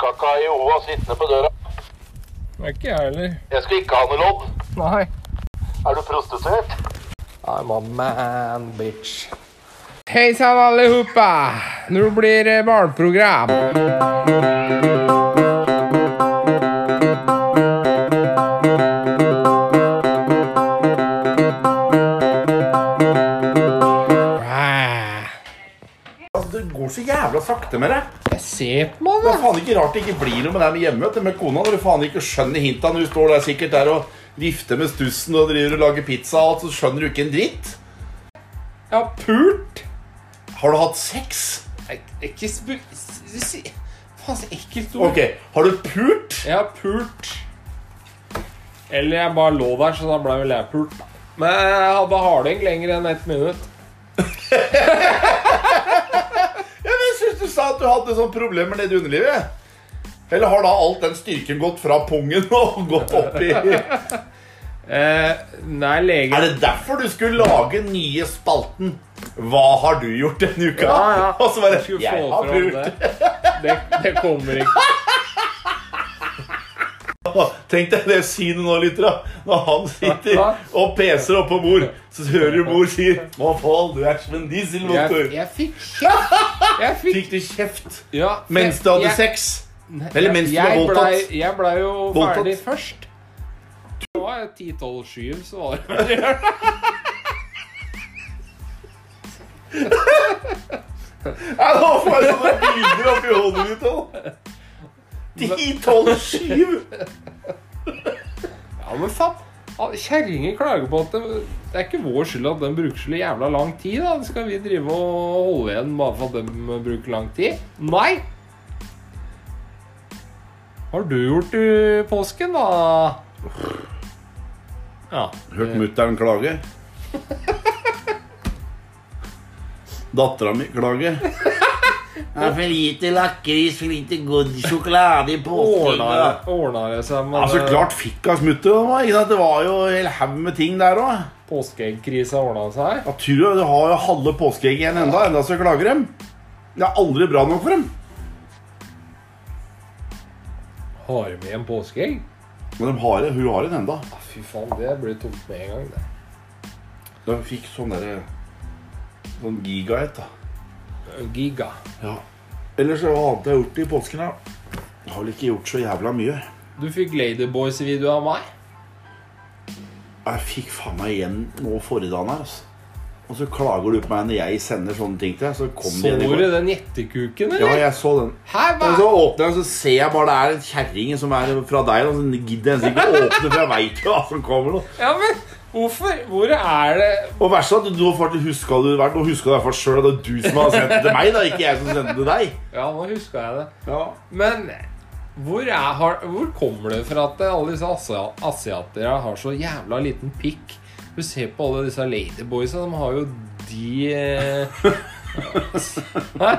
pakka i OA sittende på døra. Det er ikke jeg heller. Jeg skal ikke ha noe lodd. Nei. Er du prostituert? I'm a man, bitch. Hei sann, alle hopa! Nå blir det barneprogram. Altså, det går så jævla sakte med det. Jeg ser på meg, Det er faen ikke rart det ikke blir noe med deg med hjemmemøte med kona når du faen ikke skjønner hinta når du står der sikkert der og vifter med stussen og driver og lager pizza og alt, så skjønner du ikke en dritt. Jeg har pult. Har du hatt sex? Jeg- jeg Ikke spu... s- s- si- Faen, så ekkelt ord. Ok, har du pult? Jeg har pult. Eller jeg bare lå der, så da ble vel jeg pult. Men jeg hadde harding lenger enn ett minutt. Ja, men jeg synes du sa at du hadde sånne problemer nede i underlivet. Eller har da alt den styrken gått fra pungen og gått opp i Er Eh, nei, legen det derfor du skulle lage nye spalten? Hva har du gjort denne uka? Ja, ja. Og så bare Jeg skulle Jeg få har fram pult. Det. Det, det kommer ikke. Åh, Tenk deg det synet nå, lytter jeg. Når han sitter og peser oppå mor, så hører du mor sier Hva faen, du er som en Jeg, dieselmotor. jeg fikk kjeft. Jeg fikk, Fikk du kjeft ja, mens jeg- du hadde jeg- sex? Eller mens du var Jeg voldtatt. blei- Jeg blei jo Voldtatt. ferdig først. Det var 10-12-7, så var det Ja, nå får jeg sånne bilder oppi hodet mitt òg. 10-12-7. Ja, men faen. Al- Kjerringer klager på at det, det er ikke vår skyld at den bruker så jævla lang tid. da. Skal vi drive og holde igjen bare for at de bruker lang tid? Nei! Har du gjort i påsken, da? Ja. Hørt mutter'n klage. Dattera mi klage. Ja, for lite lakris, for lite god sjokolade i påsken. Ordna det- ordna det seg med Altså, klart fikk hun smutter. da, ikke sant? Det var jo en hel haug med ting der òg. påskeeggkrisa ordna seg? Ja, tror jeg, de har jo halve påskeegget igjen enda, enda så klager dem. Det er aldri bra nok for dem. Har vi en påskeegg? Men de har, hun har en enda. Fy faen, det blir tomt med en gang. det. De fikk sånn der, sånn gigaet da. Giga. Ja. Ellers hva annet jeg har gjort i påsken da? Jeg har vel ikke gjort så jævla mye. Du fikk Ladyboys-video av meg. Jeg fikk faen meg igjen nå forrige dagen her, altså. Og så klager du på meg når jeg sender sånne ting til deg, så kom de Så igjen i du går. den gjettekuken, Ja, eller? jeg så den. Hæ, hva? Og så åpner jeg, og så ser jeg bare det er en kjerring som er fra deg, og så gidder jeg nesten ikke å åpne, for jeg vet jo hva som kommer nå. Ja, men hvorfor? Hvor er det Og verst at du faktisk huska det vært, og huska det i hvert fall sjøl. Det er du som har sendt det til meg, da, ikke jeg som sendte det til deg. Ja, nå huska jeg det. Ja. Men hvor, er, har, hvor kommer det fra at alle disse asia- asiatere har så jævla liten pikk? Du ser på alle disse ladyboysa, de har jo de eh, Hæ?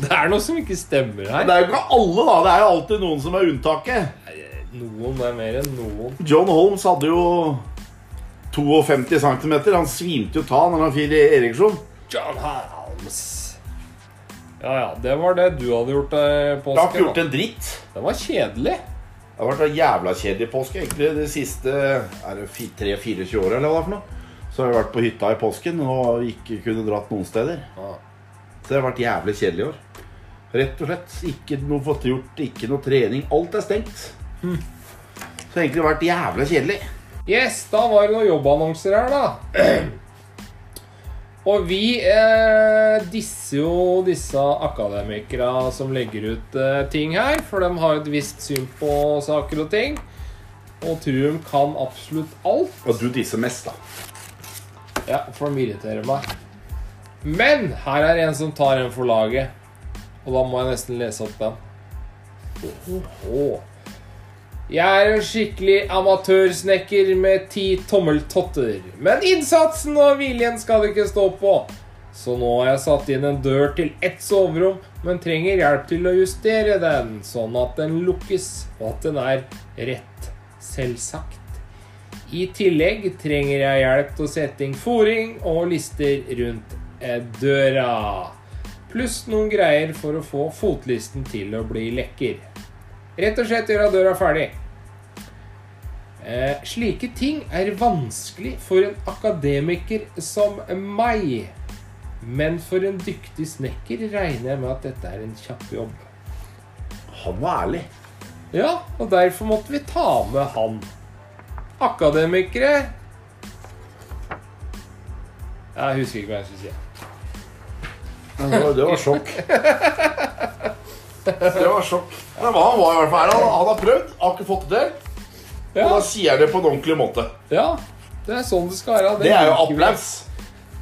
Det er noe som ikke stemmer her. Det er jo ikke alle, da. Det er jo alltid noen som er unntaket. Noen er mer enn noen. John Holmes hadde jo 52 cm. Han svimte jo ta når han fikk ereksjon. John Holmes. Ja, ja, det var det du hadde gjort eh, Jeg har ikke påsken. gjort da. en dritt. Det var kjedelig. Det har vært en jævla kjedelig påske, egentlig. De siste er det 3-24 åra, eller hva det er for noe. Så har jeg vært på hytta i påsken og ikke kunne dratt noen steder. Ja. Så det har vært jævlig kjedelig i år. Rett og slett. Ikke noe fått gjort, ikke noe trening. Alt er stengt. Hmm. Så egentlig har det vært jævla kjedelig. Yes, da var det noen jobbannonser her, da. Og vi eh, disser jo disse akademikere som legger ut eh, ting her, for de har et visst syn på saker og ting. Og tror de kan absolutt alt. Og du disser mest, da. Ja, for de irriterer meg. Men her er en som tar en for laget. Og da må jeg nesten lese opp den. Åhå. Jeg er en skikkelig amatørsnekker med ti tommeltotter. Men innsatsen og viljen skal det ikke stå på. Så nå har jeg satt inn en dør til ett soverom, men trenger hjelp til å justere den, sånn at den lukkes, og at den er rett. Selvsagt. I tillegg trenger jeg hjelp til å sette inn fòring og lister rundt eh, døra. Pluss noen greier for å få fotlisten til å bli lekker. Rett og slett gjøre døra ferdig. Eh, slike ting er vanskelig for en akademiker som meg. Men for en dyktig snekker regner jeg med at dette er en kjapp jobb. Han var ærlig. Ja, og derfor måtte vi ta med han. Akademikere Jeg husker ikke hva jeg skulle si. Det var, det var sjokk. Det var sjokk. Det var, han var i hvert fall her. Han, han har prøvd, har ikke fått det til. Og Ja, da sier jeg det på en ordentlig måte. ja det er sånn det skal være. Det er jo liker vi. applaus.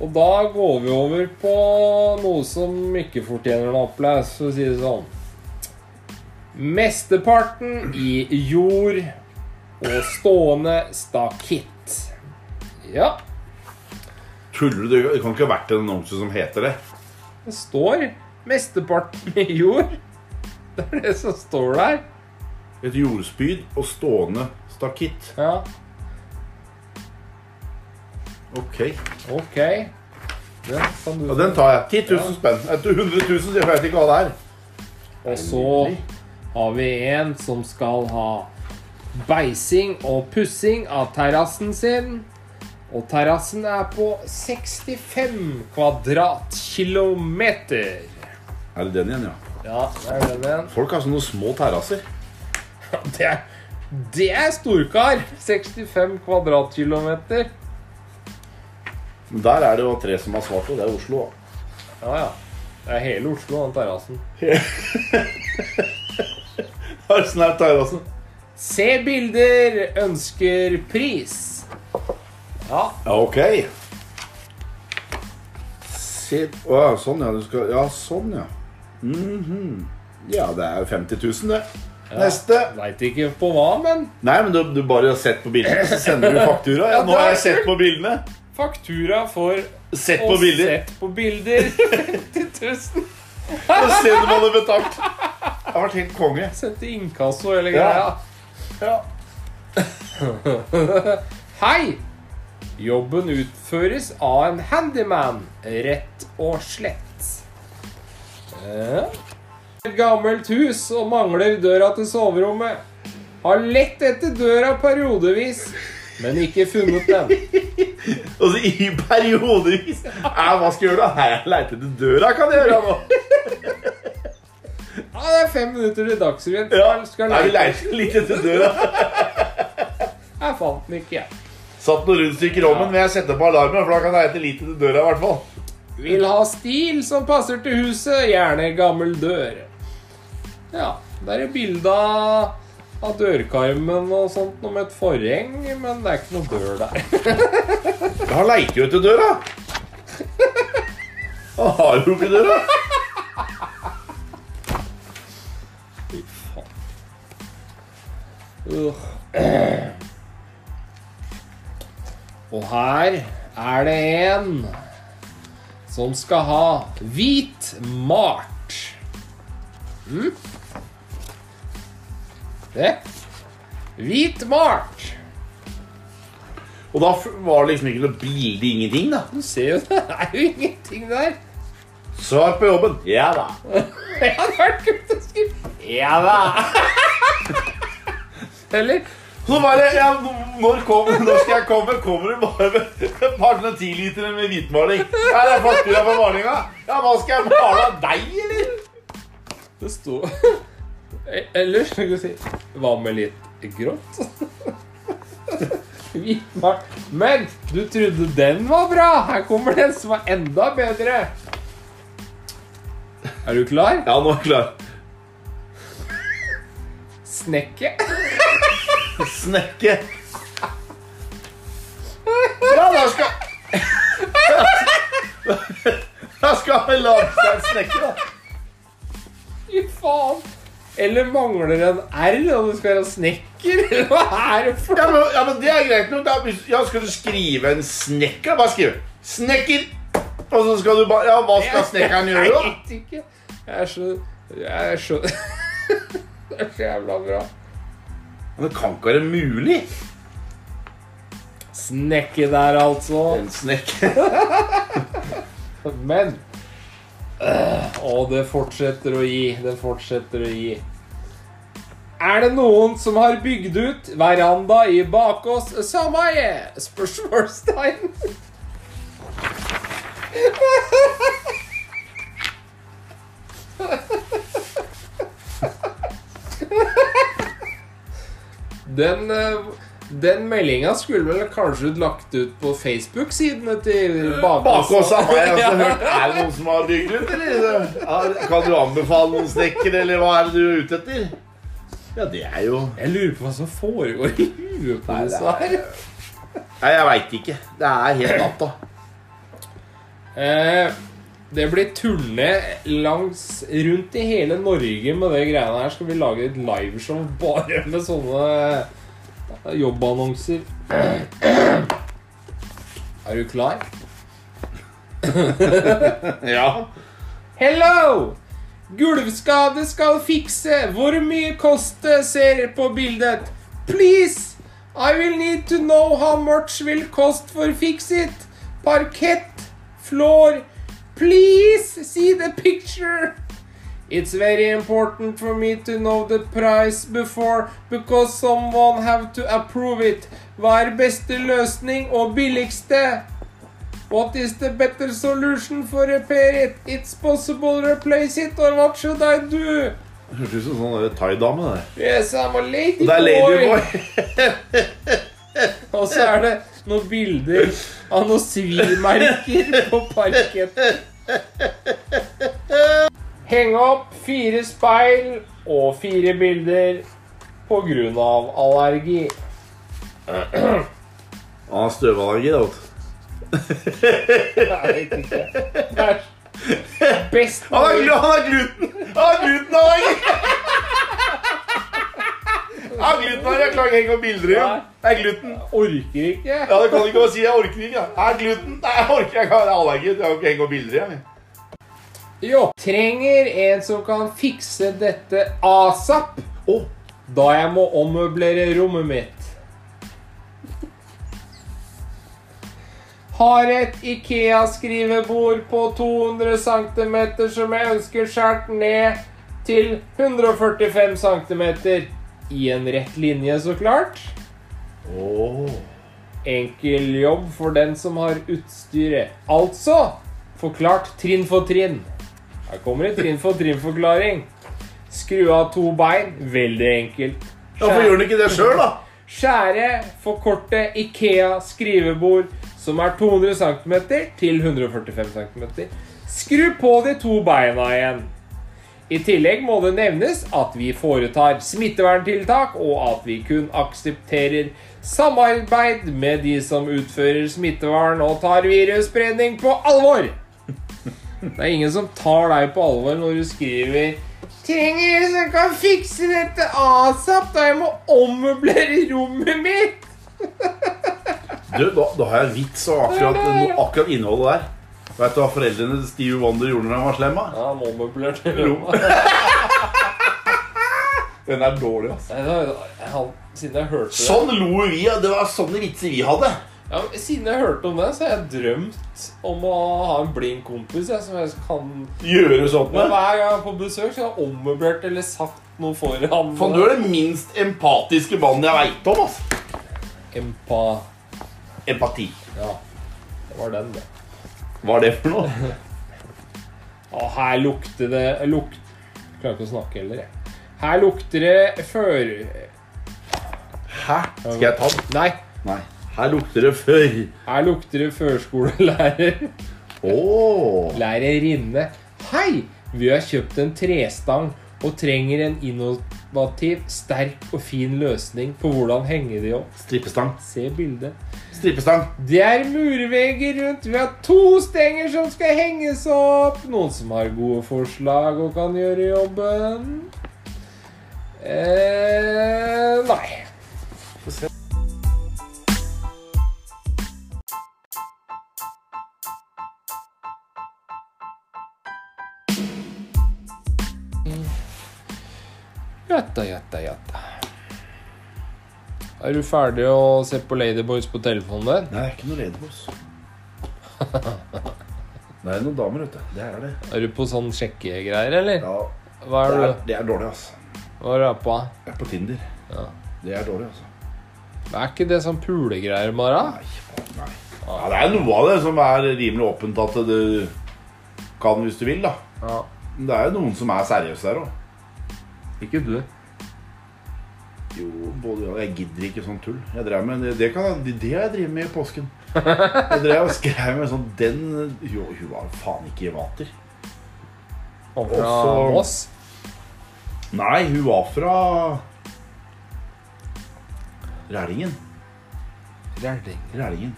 Og da går vi over på noe som ikke fortjener en applaus, for å si det sånn. Mesteparten i jord og stående stakitt. Ja, Tuller du? Det kan ikke ha vært en annonse som heter det. det står 'mesteparten i jord'. Det er det som står der. Et jordspyd og stående stakitt. Ja, Ok. Ja, ok. Den kan du den tar jeg. 10 000 spenn. Etter 100 000, jeg vet ikke hva det er. Og så har vi en som skal ha beising og pussing av terrassen sin. Og terrassen er på 65 kvadratkilometer. Er det den igjen, ja? Ja, det er den igjen. Folk har sånne små terrasser. Det er, det er storkar! 65 kvadratkilometer. Men der er det jo tre som har svart, og det er Oslo. da. Ja, ja. Det er hele Oslo, den terrassen. Har du sånn her terrassen? Se bilder, ønsker pris. Ja, Ja, ok. Se, å, ja, sånn, ja. Du skal, ja, sånn, ja. Mhm. Ja, det er jo 50 000, det. Neste. veit ikke på hva, men Nei, men du, du bare har sett på bildene, så sender du faktura. Ja, Ja, nå har det jeg er sett på bildene. faktura for Sett på bilder. sett på bilder. 50 000. Og se om du hadde betalt. Det har vært helt konge. Sendte inkasso hele Ja. greia. Ja. Hei! Jobben utføres av en handyman, rett og slett. Eh. Et gammelt hus og mangler døra til soverommet. Har lett etter døra periodevis, men ikke funnet den. Og så i periodevis Nei, Hva skal jeg gjøre da? Nei, jeg leter etter døra, kan jeg gjøre nå. Ja, det er fem minutter til Dagsrevyen. Ja, Skal Nei, vi lete. leter litt etter døra. Jeg fant den ikke, jeg. Satt noen rundstykker om den, men jeg setter på alarmen, for da kan jeg lete litt etter døra i hvert fall. Vil ha stil som passer til huset, gjerne gammel dør. Ja, der er bilde av av dørkarmen og sånt noe med et forheng, men det er ikke noe dør der. Ja, Han leiter jo etter døra. Han har jo ikke døra. Fy faen. Øh. Og her er det en som skal ha hvit mart. Mm. Det. Hvit mart. Og da f- var det liksom ikke noe bilde, ingenting, da. Du ser jo, det er jo ingenting der. Svar på jobben. Ja da. Jeg hadde vært kult å skrive. Ja da. Eller Så bare ja, n- Når kommer Når skal jeg komme? Kommer du bare med et par sånne tillitere med hvitmaling? Ja, det er faktura for malinga. Ja, hva skal jeg male av deg, eller? Det sto Eller skal vi si Hva med litt grått? Hvitmalt. Men du trodde den var bra! Her kommer den som er enda bedre. Er du klar? Ja, nå er jeg klar. Snekke. Snekke. Ja, da skal Da skal vi lage seg en snekke, da. Fy faen. Eller mangler en R, og du skal være snekker? Eller hva er det for Ja, men, ja, men det er greit nok. Da, hvis- ja, skal du skrive en snekker? Bare skrive 'snekker'. Og så skal du bare Ja, hva skal snekkeren gjøre, Jeg da? vet ikke. Jeg er så Jeg er så Det er så jævla bra. Men det kan ikke være mulig. Snekke der, altså. En snekker. Men øh, Og det fortsetter å gi. Det fortsetter å gi. Er det noen som har bygd ut veranda i Bakås sameie? Spørsmålstegn. Den, eh, den meldinga skulle vel kanskje lagt ut på Facebook-sidene til Bakås. Bakås har jeg også hørt. Er det noen som har bygd ut, eller? Ja, Kan du anbefale noen snekker, eller hva er det du er ute etter? Ja, det er jo Jeg lurer på hva som foregår i huet på det disse er- her. Nei, jeg veit ikke. Det er helt natta. Eh, det blir turné langs rundt i hele Norge med det greiene her. Skal vi lage et liveshow bare med sånne eh, jobbannonser? Er du klar? Ja. Hello! Gulvskade skal fikse. Hvor mye koste? Ser på bildet. Please! I will need to know how much will cost for fix it. Parkett, floor. Please see the picture. It's very important for me to know the price before because someone have to approve it. Hva er beste løsning og billigste? What is the better solution for repair it? It's possible replace it, or what should I do? Hørtes ut som sånn thaidame. det. Yes, I'm a lady Og det er boy. Ladyboy. Og så er det noen bilder av noen svimerker på parketten. Henge opp fire speil og fire bilder på grunn av allergi. Han har støvallergi, da. vet du. Nei, jeg vet ikke. Det er Best Han har glu- han har gluten! Han har glutenallergi! Han har glutenallergi. Jeg klarer ikke å henge opp bilder engang. Det er gluten. orker ikke. Ja, det kan du ikke bare si. Jeg orker ikke. da. Jeg er gluten. Nei, jeg orker ikke. Jeg er allergi. Jeg kan ikke henge opp bilder igjen. Jo. Trenger en som kan fikse dette asap Oh. da jeg må ommøblere rommet mitt. Har et Ikea-skrivebord på 200 cm som jeg ønsker skåret ned til 145 cm. I en rett linje, så klart. Enkel jobb for den som har utstyret. Altså forklart trinn for trinn. Her kommer det trinn for trinn-forklaring. Skru av to bein. Veldig enkelt. Hvorfor gjør han ikke det sjøl, da? Skjære, forkorte Ikea-skrivebord som er 200 cm til 145 cm. Skru på de to beina igjen. I tillegg må det nevnes at vi foretar smitteverntiltak, og at vi kun aksepterer samarbeid med de som utfører smittevern og tar virusspredning på alvor. Det er ingen som tar deg på alvor når du skriver Trenger en som kan fikse dette asap, da jeg må ommøblere rommet mitt. Du, da, da har jeg en vits om akkurat, Ja, akkurat innholdet der. Vet du hva foreldrene til Steve Wonder gjorde når han var slem? da? Ja, han ommøblerte Den er dårlig, altså. Siden jeg hørte det Sånn lo vi, ja. Det var sånne vitser vi hadde. ja, men Siden jeg hørte om det, så har jeg drømt om å ha en blind kompis jeg, som jeg kan Gjøre sånt Men med. hver gang jeg er på besøk, så har jeg ommøblert eller sagt noe foran Faen, du er den minst empatiske mannen jeg veit om, altså. Empa... Empati. Ja, det var den, det. Hva er det for noe? Og her lukter det lukt... Jeg klarer ikke å snakke heller, jeg. Her lukter det før... Hæ? Skal jeg ta den? Nei, Nei. Her lukter det før. her lukter det førskolelærer. Åh. Lærerinne. Hei! Vi har kjøpt en trestang og trenger en innovativ, sterk og fin løsning på hvordan henge de opp. Strippestang. Se bildet. Strippestang. Det er murvegger rundt. Vi har to stenger som skal henges opp. Noen som har gode forslag og kan gjøre jobben? Eh, nei. Jatta, jatta, jatta. Er du ferdig å se på Ladyboys på telefonen din? Nei, det er ikke noe ledebås. Det er noen damer, vet du. Det er det. Er du på sånn sjekkegreier, eller? Ja, Hva det er er, du? det er dårlig, altså. Hva er det på? Jeg er på Tinder. Ja. Det er dårlig, altså. Det er ikke det sånn pulegreier, Mara? Nei, faen, nei. Ja, det er noe av det som er rimelig åpent at du kan hvis du vil, da. Ja. Men det er jo noen som er seriøse der òg. Ikke du. Jo, både ja, Jeg gidder ikke sånn tull. Jeg drev med, det, det, kan, jeg- det, det har jeg drevet med i påsken. Jeg drev og skrev med sånn Den Jo, hun var faen ikke vater. Og fra Også- Moss? Nei, hun var fra Rælingen. Rælingen.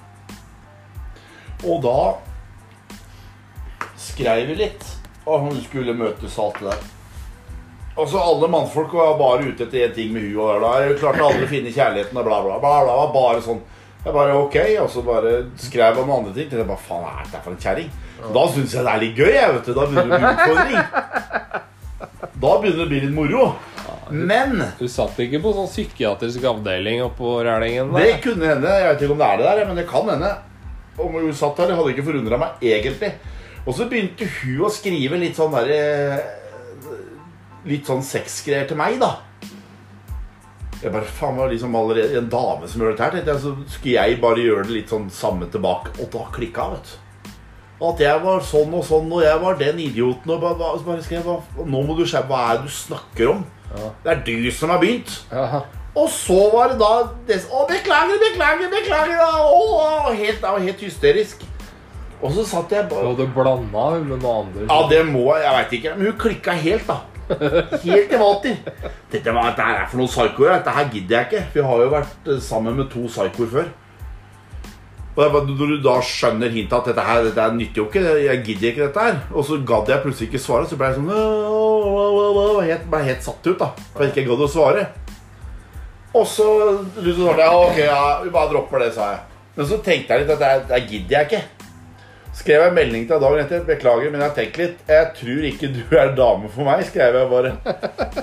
Og da skrev vi litt, og hun skulle møtes og alt det der. Og så alle mannfolk var bare ute etter én ting med hun og da. Jeg klarte aldri å finne kjærligheten og bla, bla, bla. bla var bare sånn. Jeg bare ok, og så bare skrev han andre ting. Tenkte jeg bare, faen, hva er dette for en kjerring? Og Da syns jeg det er litt gøy, jeg, vet du. Da begynner det å bli utfordring. Da begynner det å bli litt moro. Men Du satt ikke på sånn psykiatrisk avdeling oppå Rælingen? da? Det kunne hende. Jeg vet ikke om det er det der, men det kan hende. Om hun satt der, det hadde ikke forundra meg egentlig. Og så begynte hun å skrive litt sånn der eh, Litt sånn sexgreier til meg, da. Jeg bare, faen, var det liksom allerede en dame som gjør dette her, tenkte jeg. Så skulle jeg bare gjøre det litt sånn samme tilbake. Og da klikka, vet du. At jeg var sånn og sånn, og jeg var den idioten, og bare, bare- bare skrev hva- Nå må du skjerpe Hva er det du snakker om? Det er du som har begynt. Ja. Og så var det da det, Å, beklager, beklager, beklager! da, Å, å, helt, da, helt hysterisk. Og så satt jeg Du bare hadde blanda hun med noen andre? Ja, det må jeg. Jeg veit ikke. Men hun klikka helt, da. Helt til vater. Dette var, dette her er for noen psykoer. Dette her gidder jeg ikke. Vi har jo vært eh, sammen med to psykoer før. Og jeg bare, Når du da skjønner hintet at dette her dette her nytter jo ikke, jeg gidder ikke dette her, og så gadd jeg plutselig ikke svare, så ble jeg sånn «Åh, åh, åh, åh», og helt, ble helt satt ut, da. For jeg ikke gadd å svare. Og så du så svarte jeg ok, ja, vi bare dropper det, sa jeg. Men så tenkte jeg litt at det, det gidder jeg ikke. Skrev jeg en melding til deg dagen etter. Beklager, men jeg har tenkt litt. Jeg tror ikke du er dame for meg, skrev jeg bare.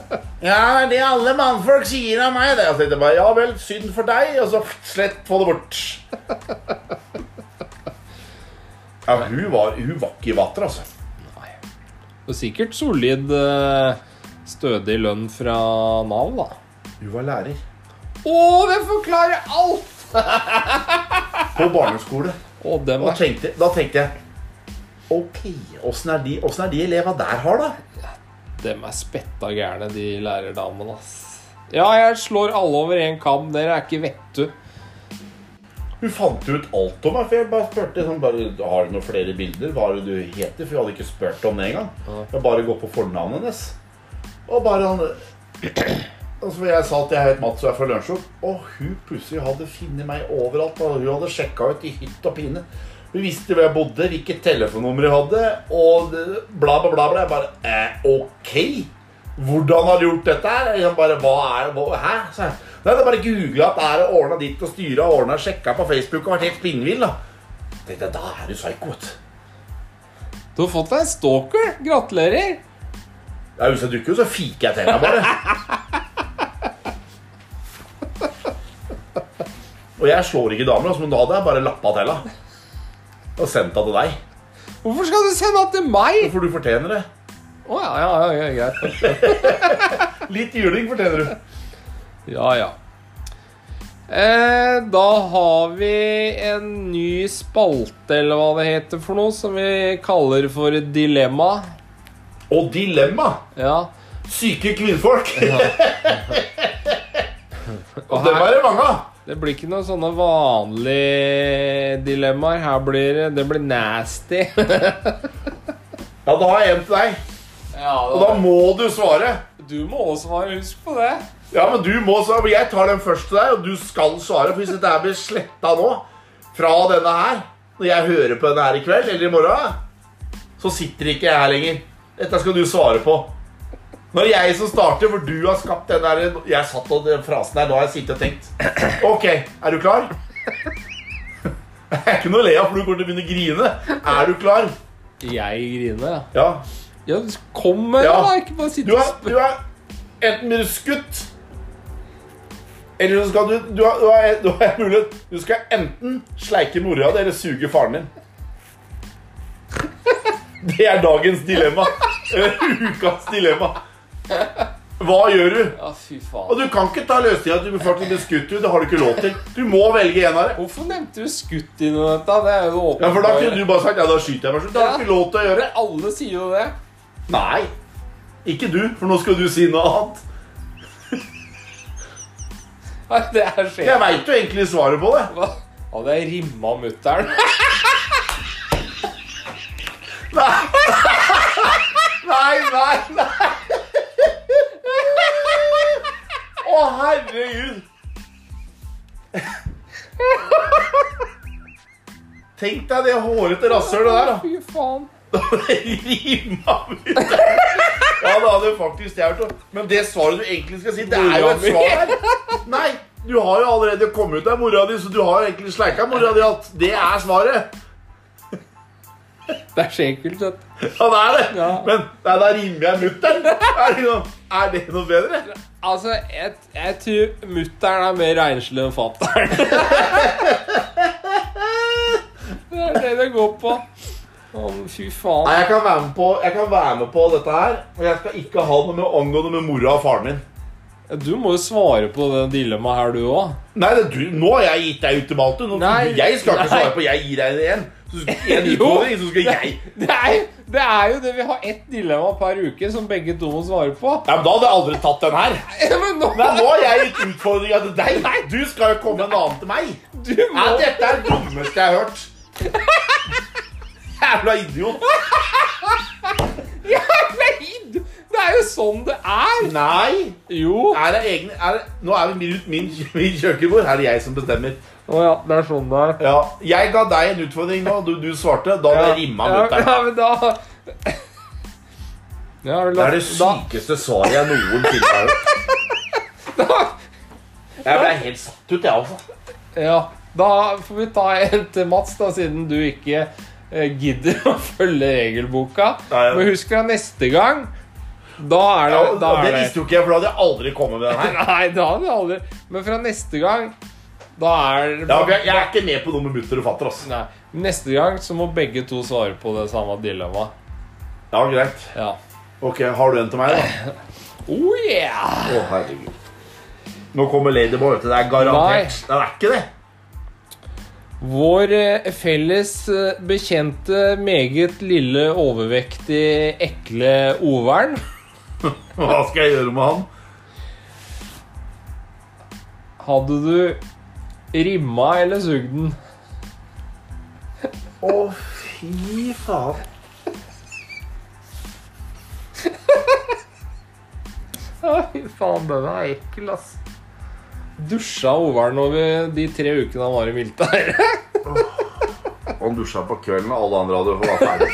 Ja, det er det alle mannfolk sier av meg. Det. Jeg tenkte bare, ja vel, synd for deg. Og så slett få det bort. Ja, hun var, hun var ikke i vater, altså. Og sikkert solid, eh, stødig lønn fra Nav, da. Hun var lærer. Å, det forklarer alt! På barneskole. Å, dem Og er tenkte, da tenkte jeg Ok, åssen er de, åssen er de eleva der har, da? Dem er spetta gærne, de lærerdamene, ass. Ja, jeg slår alle over én kam. Dere er ikke vettu. Hun fant ut alt om meg, for jeg bare spurte sånn, bare, Har du noen flere bilder? Hva er det du heter? For jeg hadde ikke spurt om det engang. Jeg bare går på fornavnet hennes. Og bare han Og så jeg sa at jeg het Mats og jeg er fra Lørenskog. Og hun plutselig hadde funnet meg overalt. Da. Hun hadde sjekka ut i hytt og pine. Hun visste hvor jeg bodde, hvilket telefonnummer jeg hadde, og det- bla, bla, bla. bla. Jeg bare eh, Ok! Hvordan har du gjort dette her? Jeg liksom bare, hva er det? hva- Hæ? sa jeg. Nei, det er bare googla at det er og ordna ditt og styra og ordna sjekka på Facebook og vært helt spinnvill, da. Tenkte jeg, da er du psyko, vet du. Du har fått deg en stalker. Gratulerer. Ja, Hvis jeg dukker, så fiker jeg til deg bare. Og jeg slår ikke damer, altså, men da hadde jeg bare lappa til henne. Og sendt henne til deg. Hvorfor skal du sende han til meg? For du fortjener det. Å ja, ja, ja, ja, greit. Litt juling fortjener du. Ja, ja. Eh, da har vi en ny spalte, eller hva det heter for noe, som vi kaller for Dilemma. Og dilemma! Ja. Syke kvinnfolk. Og Og dem er det mange av. Det blir ikke noen sånne vanlige dilemmaer. Her blir det, det blir nasty. Ja, da har jeg en til deg. Og da må du svare. du må også svare. Husk på det. Ja, men du må svare. men Jeg tar den først til deg, og du skal svare. For hvis dette her blir sletta nå, fra denne her, når jeg hører på denne her i kveld eller i morgen, så sitter ikke jeg her lenger. Dette skal du svare på. Når jeg som starter, for du har skapt den der Jeg satt og den frasen der, nå har jeg sittet og tenkt. Ok, er du klar? Det er ikke noe å le av, for du kommer til å begynne å grine. Er du klar? Jeg griner, ja. Ja. Ja, kom med det, Ja. da! Ikke bare Du sitte og er, du spørre. er enten blir du skutt Eller så skal du Du har, du har, du har en mulighet Du skal enten sleike mora di eller suge faren din. Det er dagens dilemma. Eller ukas dilemma. Hva gjør du? Ja, fy Og faen. du kan ikke ta løstida at du blir faktisk blir skutt ut. Det har du ikke lov til. Du må velge en av dem. Hvorfor nevnte du skutt inn i dette? Det er jo åpenbart. Ja, For da kunne du bare sagt ja, da skyter jeg meg selv. Det har du ikke lov til å gjøre. Alle sier jo det. Nei. Ikke du, for nå skal du si noe annet. Nei, det er sjef. Jeg veit jo egentlig svaret på det. Hva? Hadde jeg rimma mutter'n? Nei, nei, nei. Å, herregud. Tenk deg det hårete rasshølet der, da. Fy faen. Rima ut der. Ja, det hadde jo faktisk jeg hørt. om. Men det svaret du egentlig skal si, det er jo et svar her. Nei, du har jo allerede kommet ut av mora di, så du har jo egentlig sleika mora di alt. Det er svaret. Det er skjekult, vet du. Ja, det er det. Ja. Men nei, da rimer jeg mutter'n. Er, det noe- er det noe bedre? Altså, jeg, jeg tror mutter'n er mer renslig enn fatter'n. det er det det går på. Å, men fy faen. Nei, jeg kan, være med på, jeg kan være med på dette her, men jeg skal ikke ha noe med angående med mora og faren min. Du må jo svare på det dilemmaet her, du òg. Nei, det, er du, Nå har jeg gitt deg ultimatum. Nå- Nei. Jeg skal ikke Nei. svare på 'jeg gir deg det igjen'. Så skal, en Jo. utfordring, så skal jeg Nei, det er jo det. Vi har ett dilemma per uke som begge to må svare på. Ja, men Da hadde jeg aldri tatt den her. Ja, Men nå Nei, Nå har jeg gitt utfordringa til deg. Du skal jo komme en annen til meg. Du Nei, må dette er det dummeste jeg har hørt. Jævla idiot. Ja, nei! Det er jo sånn det er! Nei. Jo. Er det egne, er det, nå er vi rundt min, min kjøkkenbord. Her er det jeg som bestemmer. Å ja, det er sånn det er. Ja, Jeg ga deg en utfordring nå, du, du svarte. Da hadde jeg rimma mot deg. Ja, men da ja, vel, Det da, er det da, sykeste svaret jeg noensinne har hørt. Jeg ble helt satt ut, jeg altså. også. ja, da får vi ta en til Mats, da, siden du ikke eh, gidder å følge regelboka. Nei, ja. Men husk deg neste gang. Da er Ja, det, da det er det. visste jo ikke jeg, for da hadde jeg aldri kommet med den her. Nei, da hadde jeg aldri Men fra neste gang, da er det Ja, for jeg, jeg er ikke med på noe med mutter og fatter. altså. ass. Nei, Neste gang så må begge to svare på det samme dilemmaet. Ja, greit. Ja. Ok, Har du en til meg, da? Oh yeah! Å, herregud. Nå kommer Ladyboy. vet du. Det er garantert. Det er ikke det. Vår eh, felles eh, bekjente, meget lille, overvektig, ekle Overn Hva skal jeg gjøre med han? Hadde du rimma eller sugd den? Å, fy faen. Fy faen, den er ekkel, ass. Dusja Overn over de tre ukene han var i militæret? Han dusja på kvelden, og alle andre hadde fått være ferdig.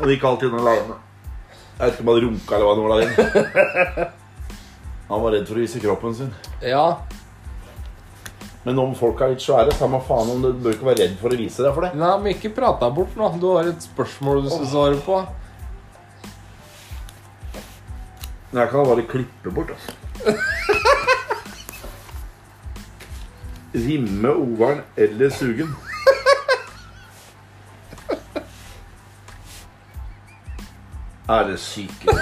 Han gikk alltid inn alene. Jeg vet ikke om han runka eller hva det var der inne. Han var redd for å vise kroppen sin. Ja. Men om folk er litt svære, samme faen om du bør ikke være redd for å vise deg for det. Nei, men ikke prat deg bort nå. Du har et spørsmål du skal svare på. Men jeg kan bare klippe bort, altså. Rimme overen eller sugen? Er det syke?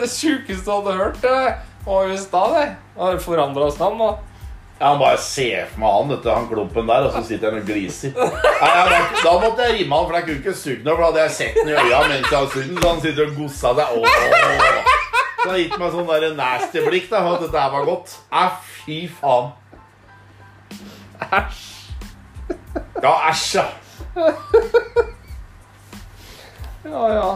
Det sjukeste du hadde hørt, det var jo i stad, det. Har forandra oss navn, da. Jeg bare ser for meg han, vet du, han klumpen der, og så sitter han og gliser. Nei, jeg, var- da måtte jeg rimme han, for jeg kunne ikke suge noe, for da hadde jeg sett den i øya mens jeg hadde sugd den, så han sitter og gossa seg. Åh. Så han gitt meg sånn der nasty blikk da, for at dette her var godt. Nei, fy faen. Æsj. Ja, æsj, ja. Ja, ja.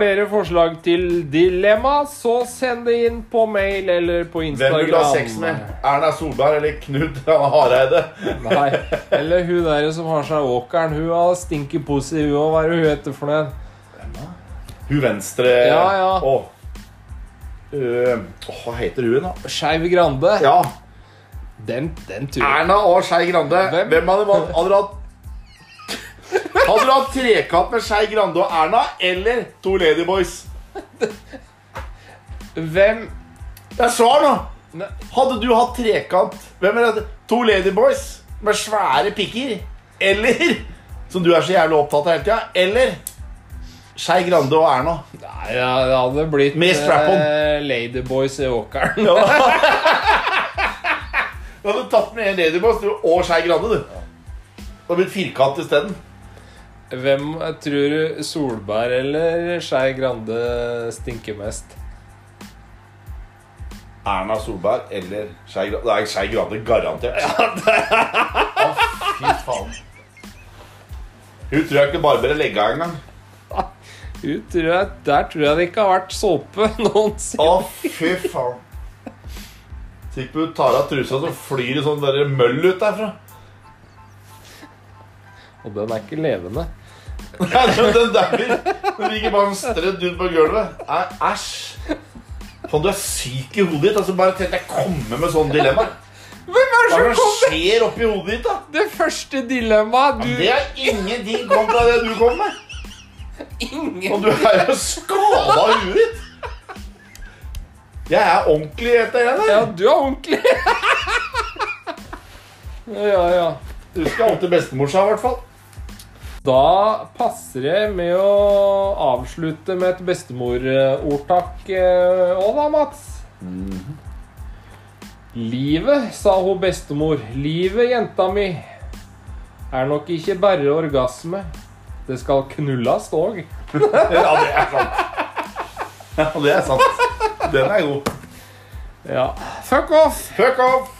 Flere forslag til dilemma, så send det inn på mail eller på Hvem Instagram. eh. vil du ha sex med? Erna Solberg eller Knut Hareide? Nei. Eller hun der som har seg åkeren. Hun har stinky pussy, hun òg. Hva er det hun heter for noe? Hun venstre Ja, ja. Åh. Øh, åh, hva heter hun, da? Skeiv Grande. Ja, Den, den turen. Erna og Skei Grande. Hvem? Hvem hadde man hadde du hatt Hadde du hatt trekant med Skei Grande og Erna eller to Ladyboys? Hvem Det er svar, Nei. nå! Hadde du hatt trekant Hvem er det? To Ladyboys med svære pikker? Eller Som du er så jævlig opptatt av hele tida. Eller Skei Grande og Erna. Nei, ja, det hadde blitt Med strap-on. eh, Ladyboys i åkeren. Ja. Du hadde tatt med en ladyboss du, og Skei Grande, du. Det hadde blitt firkant isteden. Hvem tror du Solberg eller Skei Grande stinker mest? Erna Solberg eller Skei Grande. Det er Skei Grande garantert. Å, fy faen. Hun tror jeg ikke barberer legga engang. Hun tror jeg, der tror jeg det ikke har vært såpe noensinne. Å, fy faen. Tenk på hun tar av trusa, så flyr det sånn der møll ut derfra. Og den er ikke levende. Nei, men Den der Den ligger bare en strødd ut på gulvet. Nei, Æsj. Faen, du er syk i hodet ditt. Altså, bare tenk deg komme med sånne dilemmaer. Hvem er det Hva som er det som kom med skjer oppi hodet ditt, da? det første dilemmaet? Du, Det er ingenting kontra det du kom med. Og ingen du er jo skada i huet ditt. Jeg er ordentlig etter den Ja, der. du er ordentlig. ja, ja. Husker jeg alltid bestemor sa, i hvert fall. Da passer det med å avslutte med et bestemorordtak eh, òg, da, Mats. Mhm. Livet, sa hun bestemor. Livet, jenta mi, er nok ikke bare orgasme. Det skal knullas òg. Ja, det er sant. Ja, det er sant. Den er god. Ja. Fuck off! Fuck off!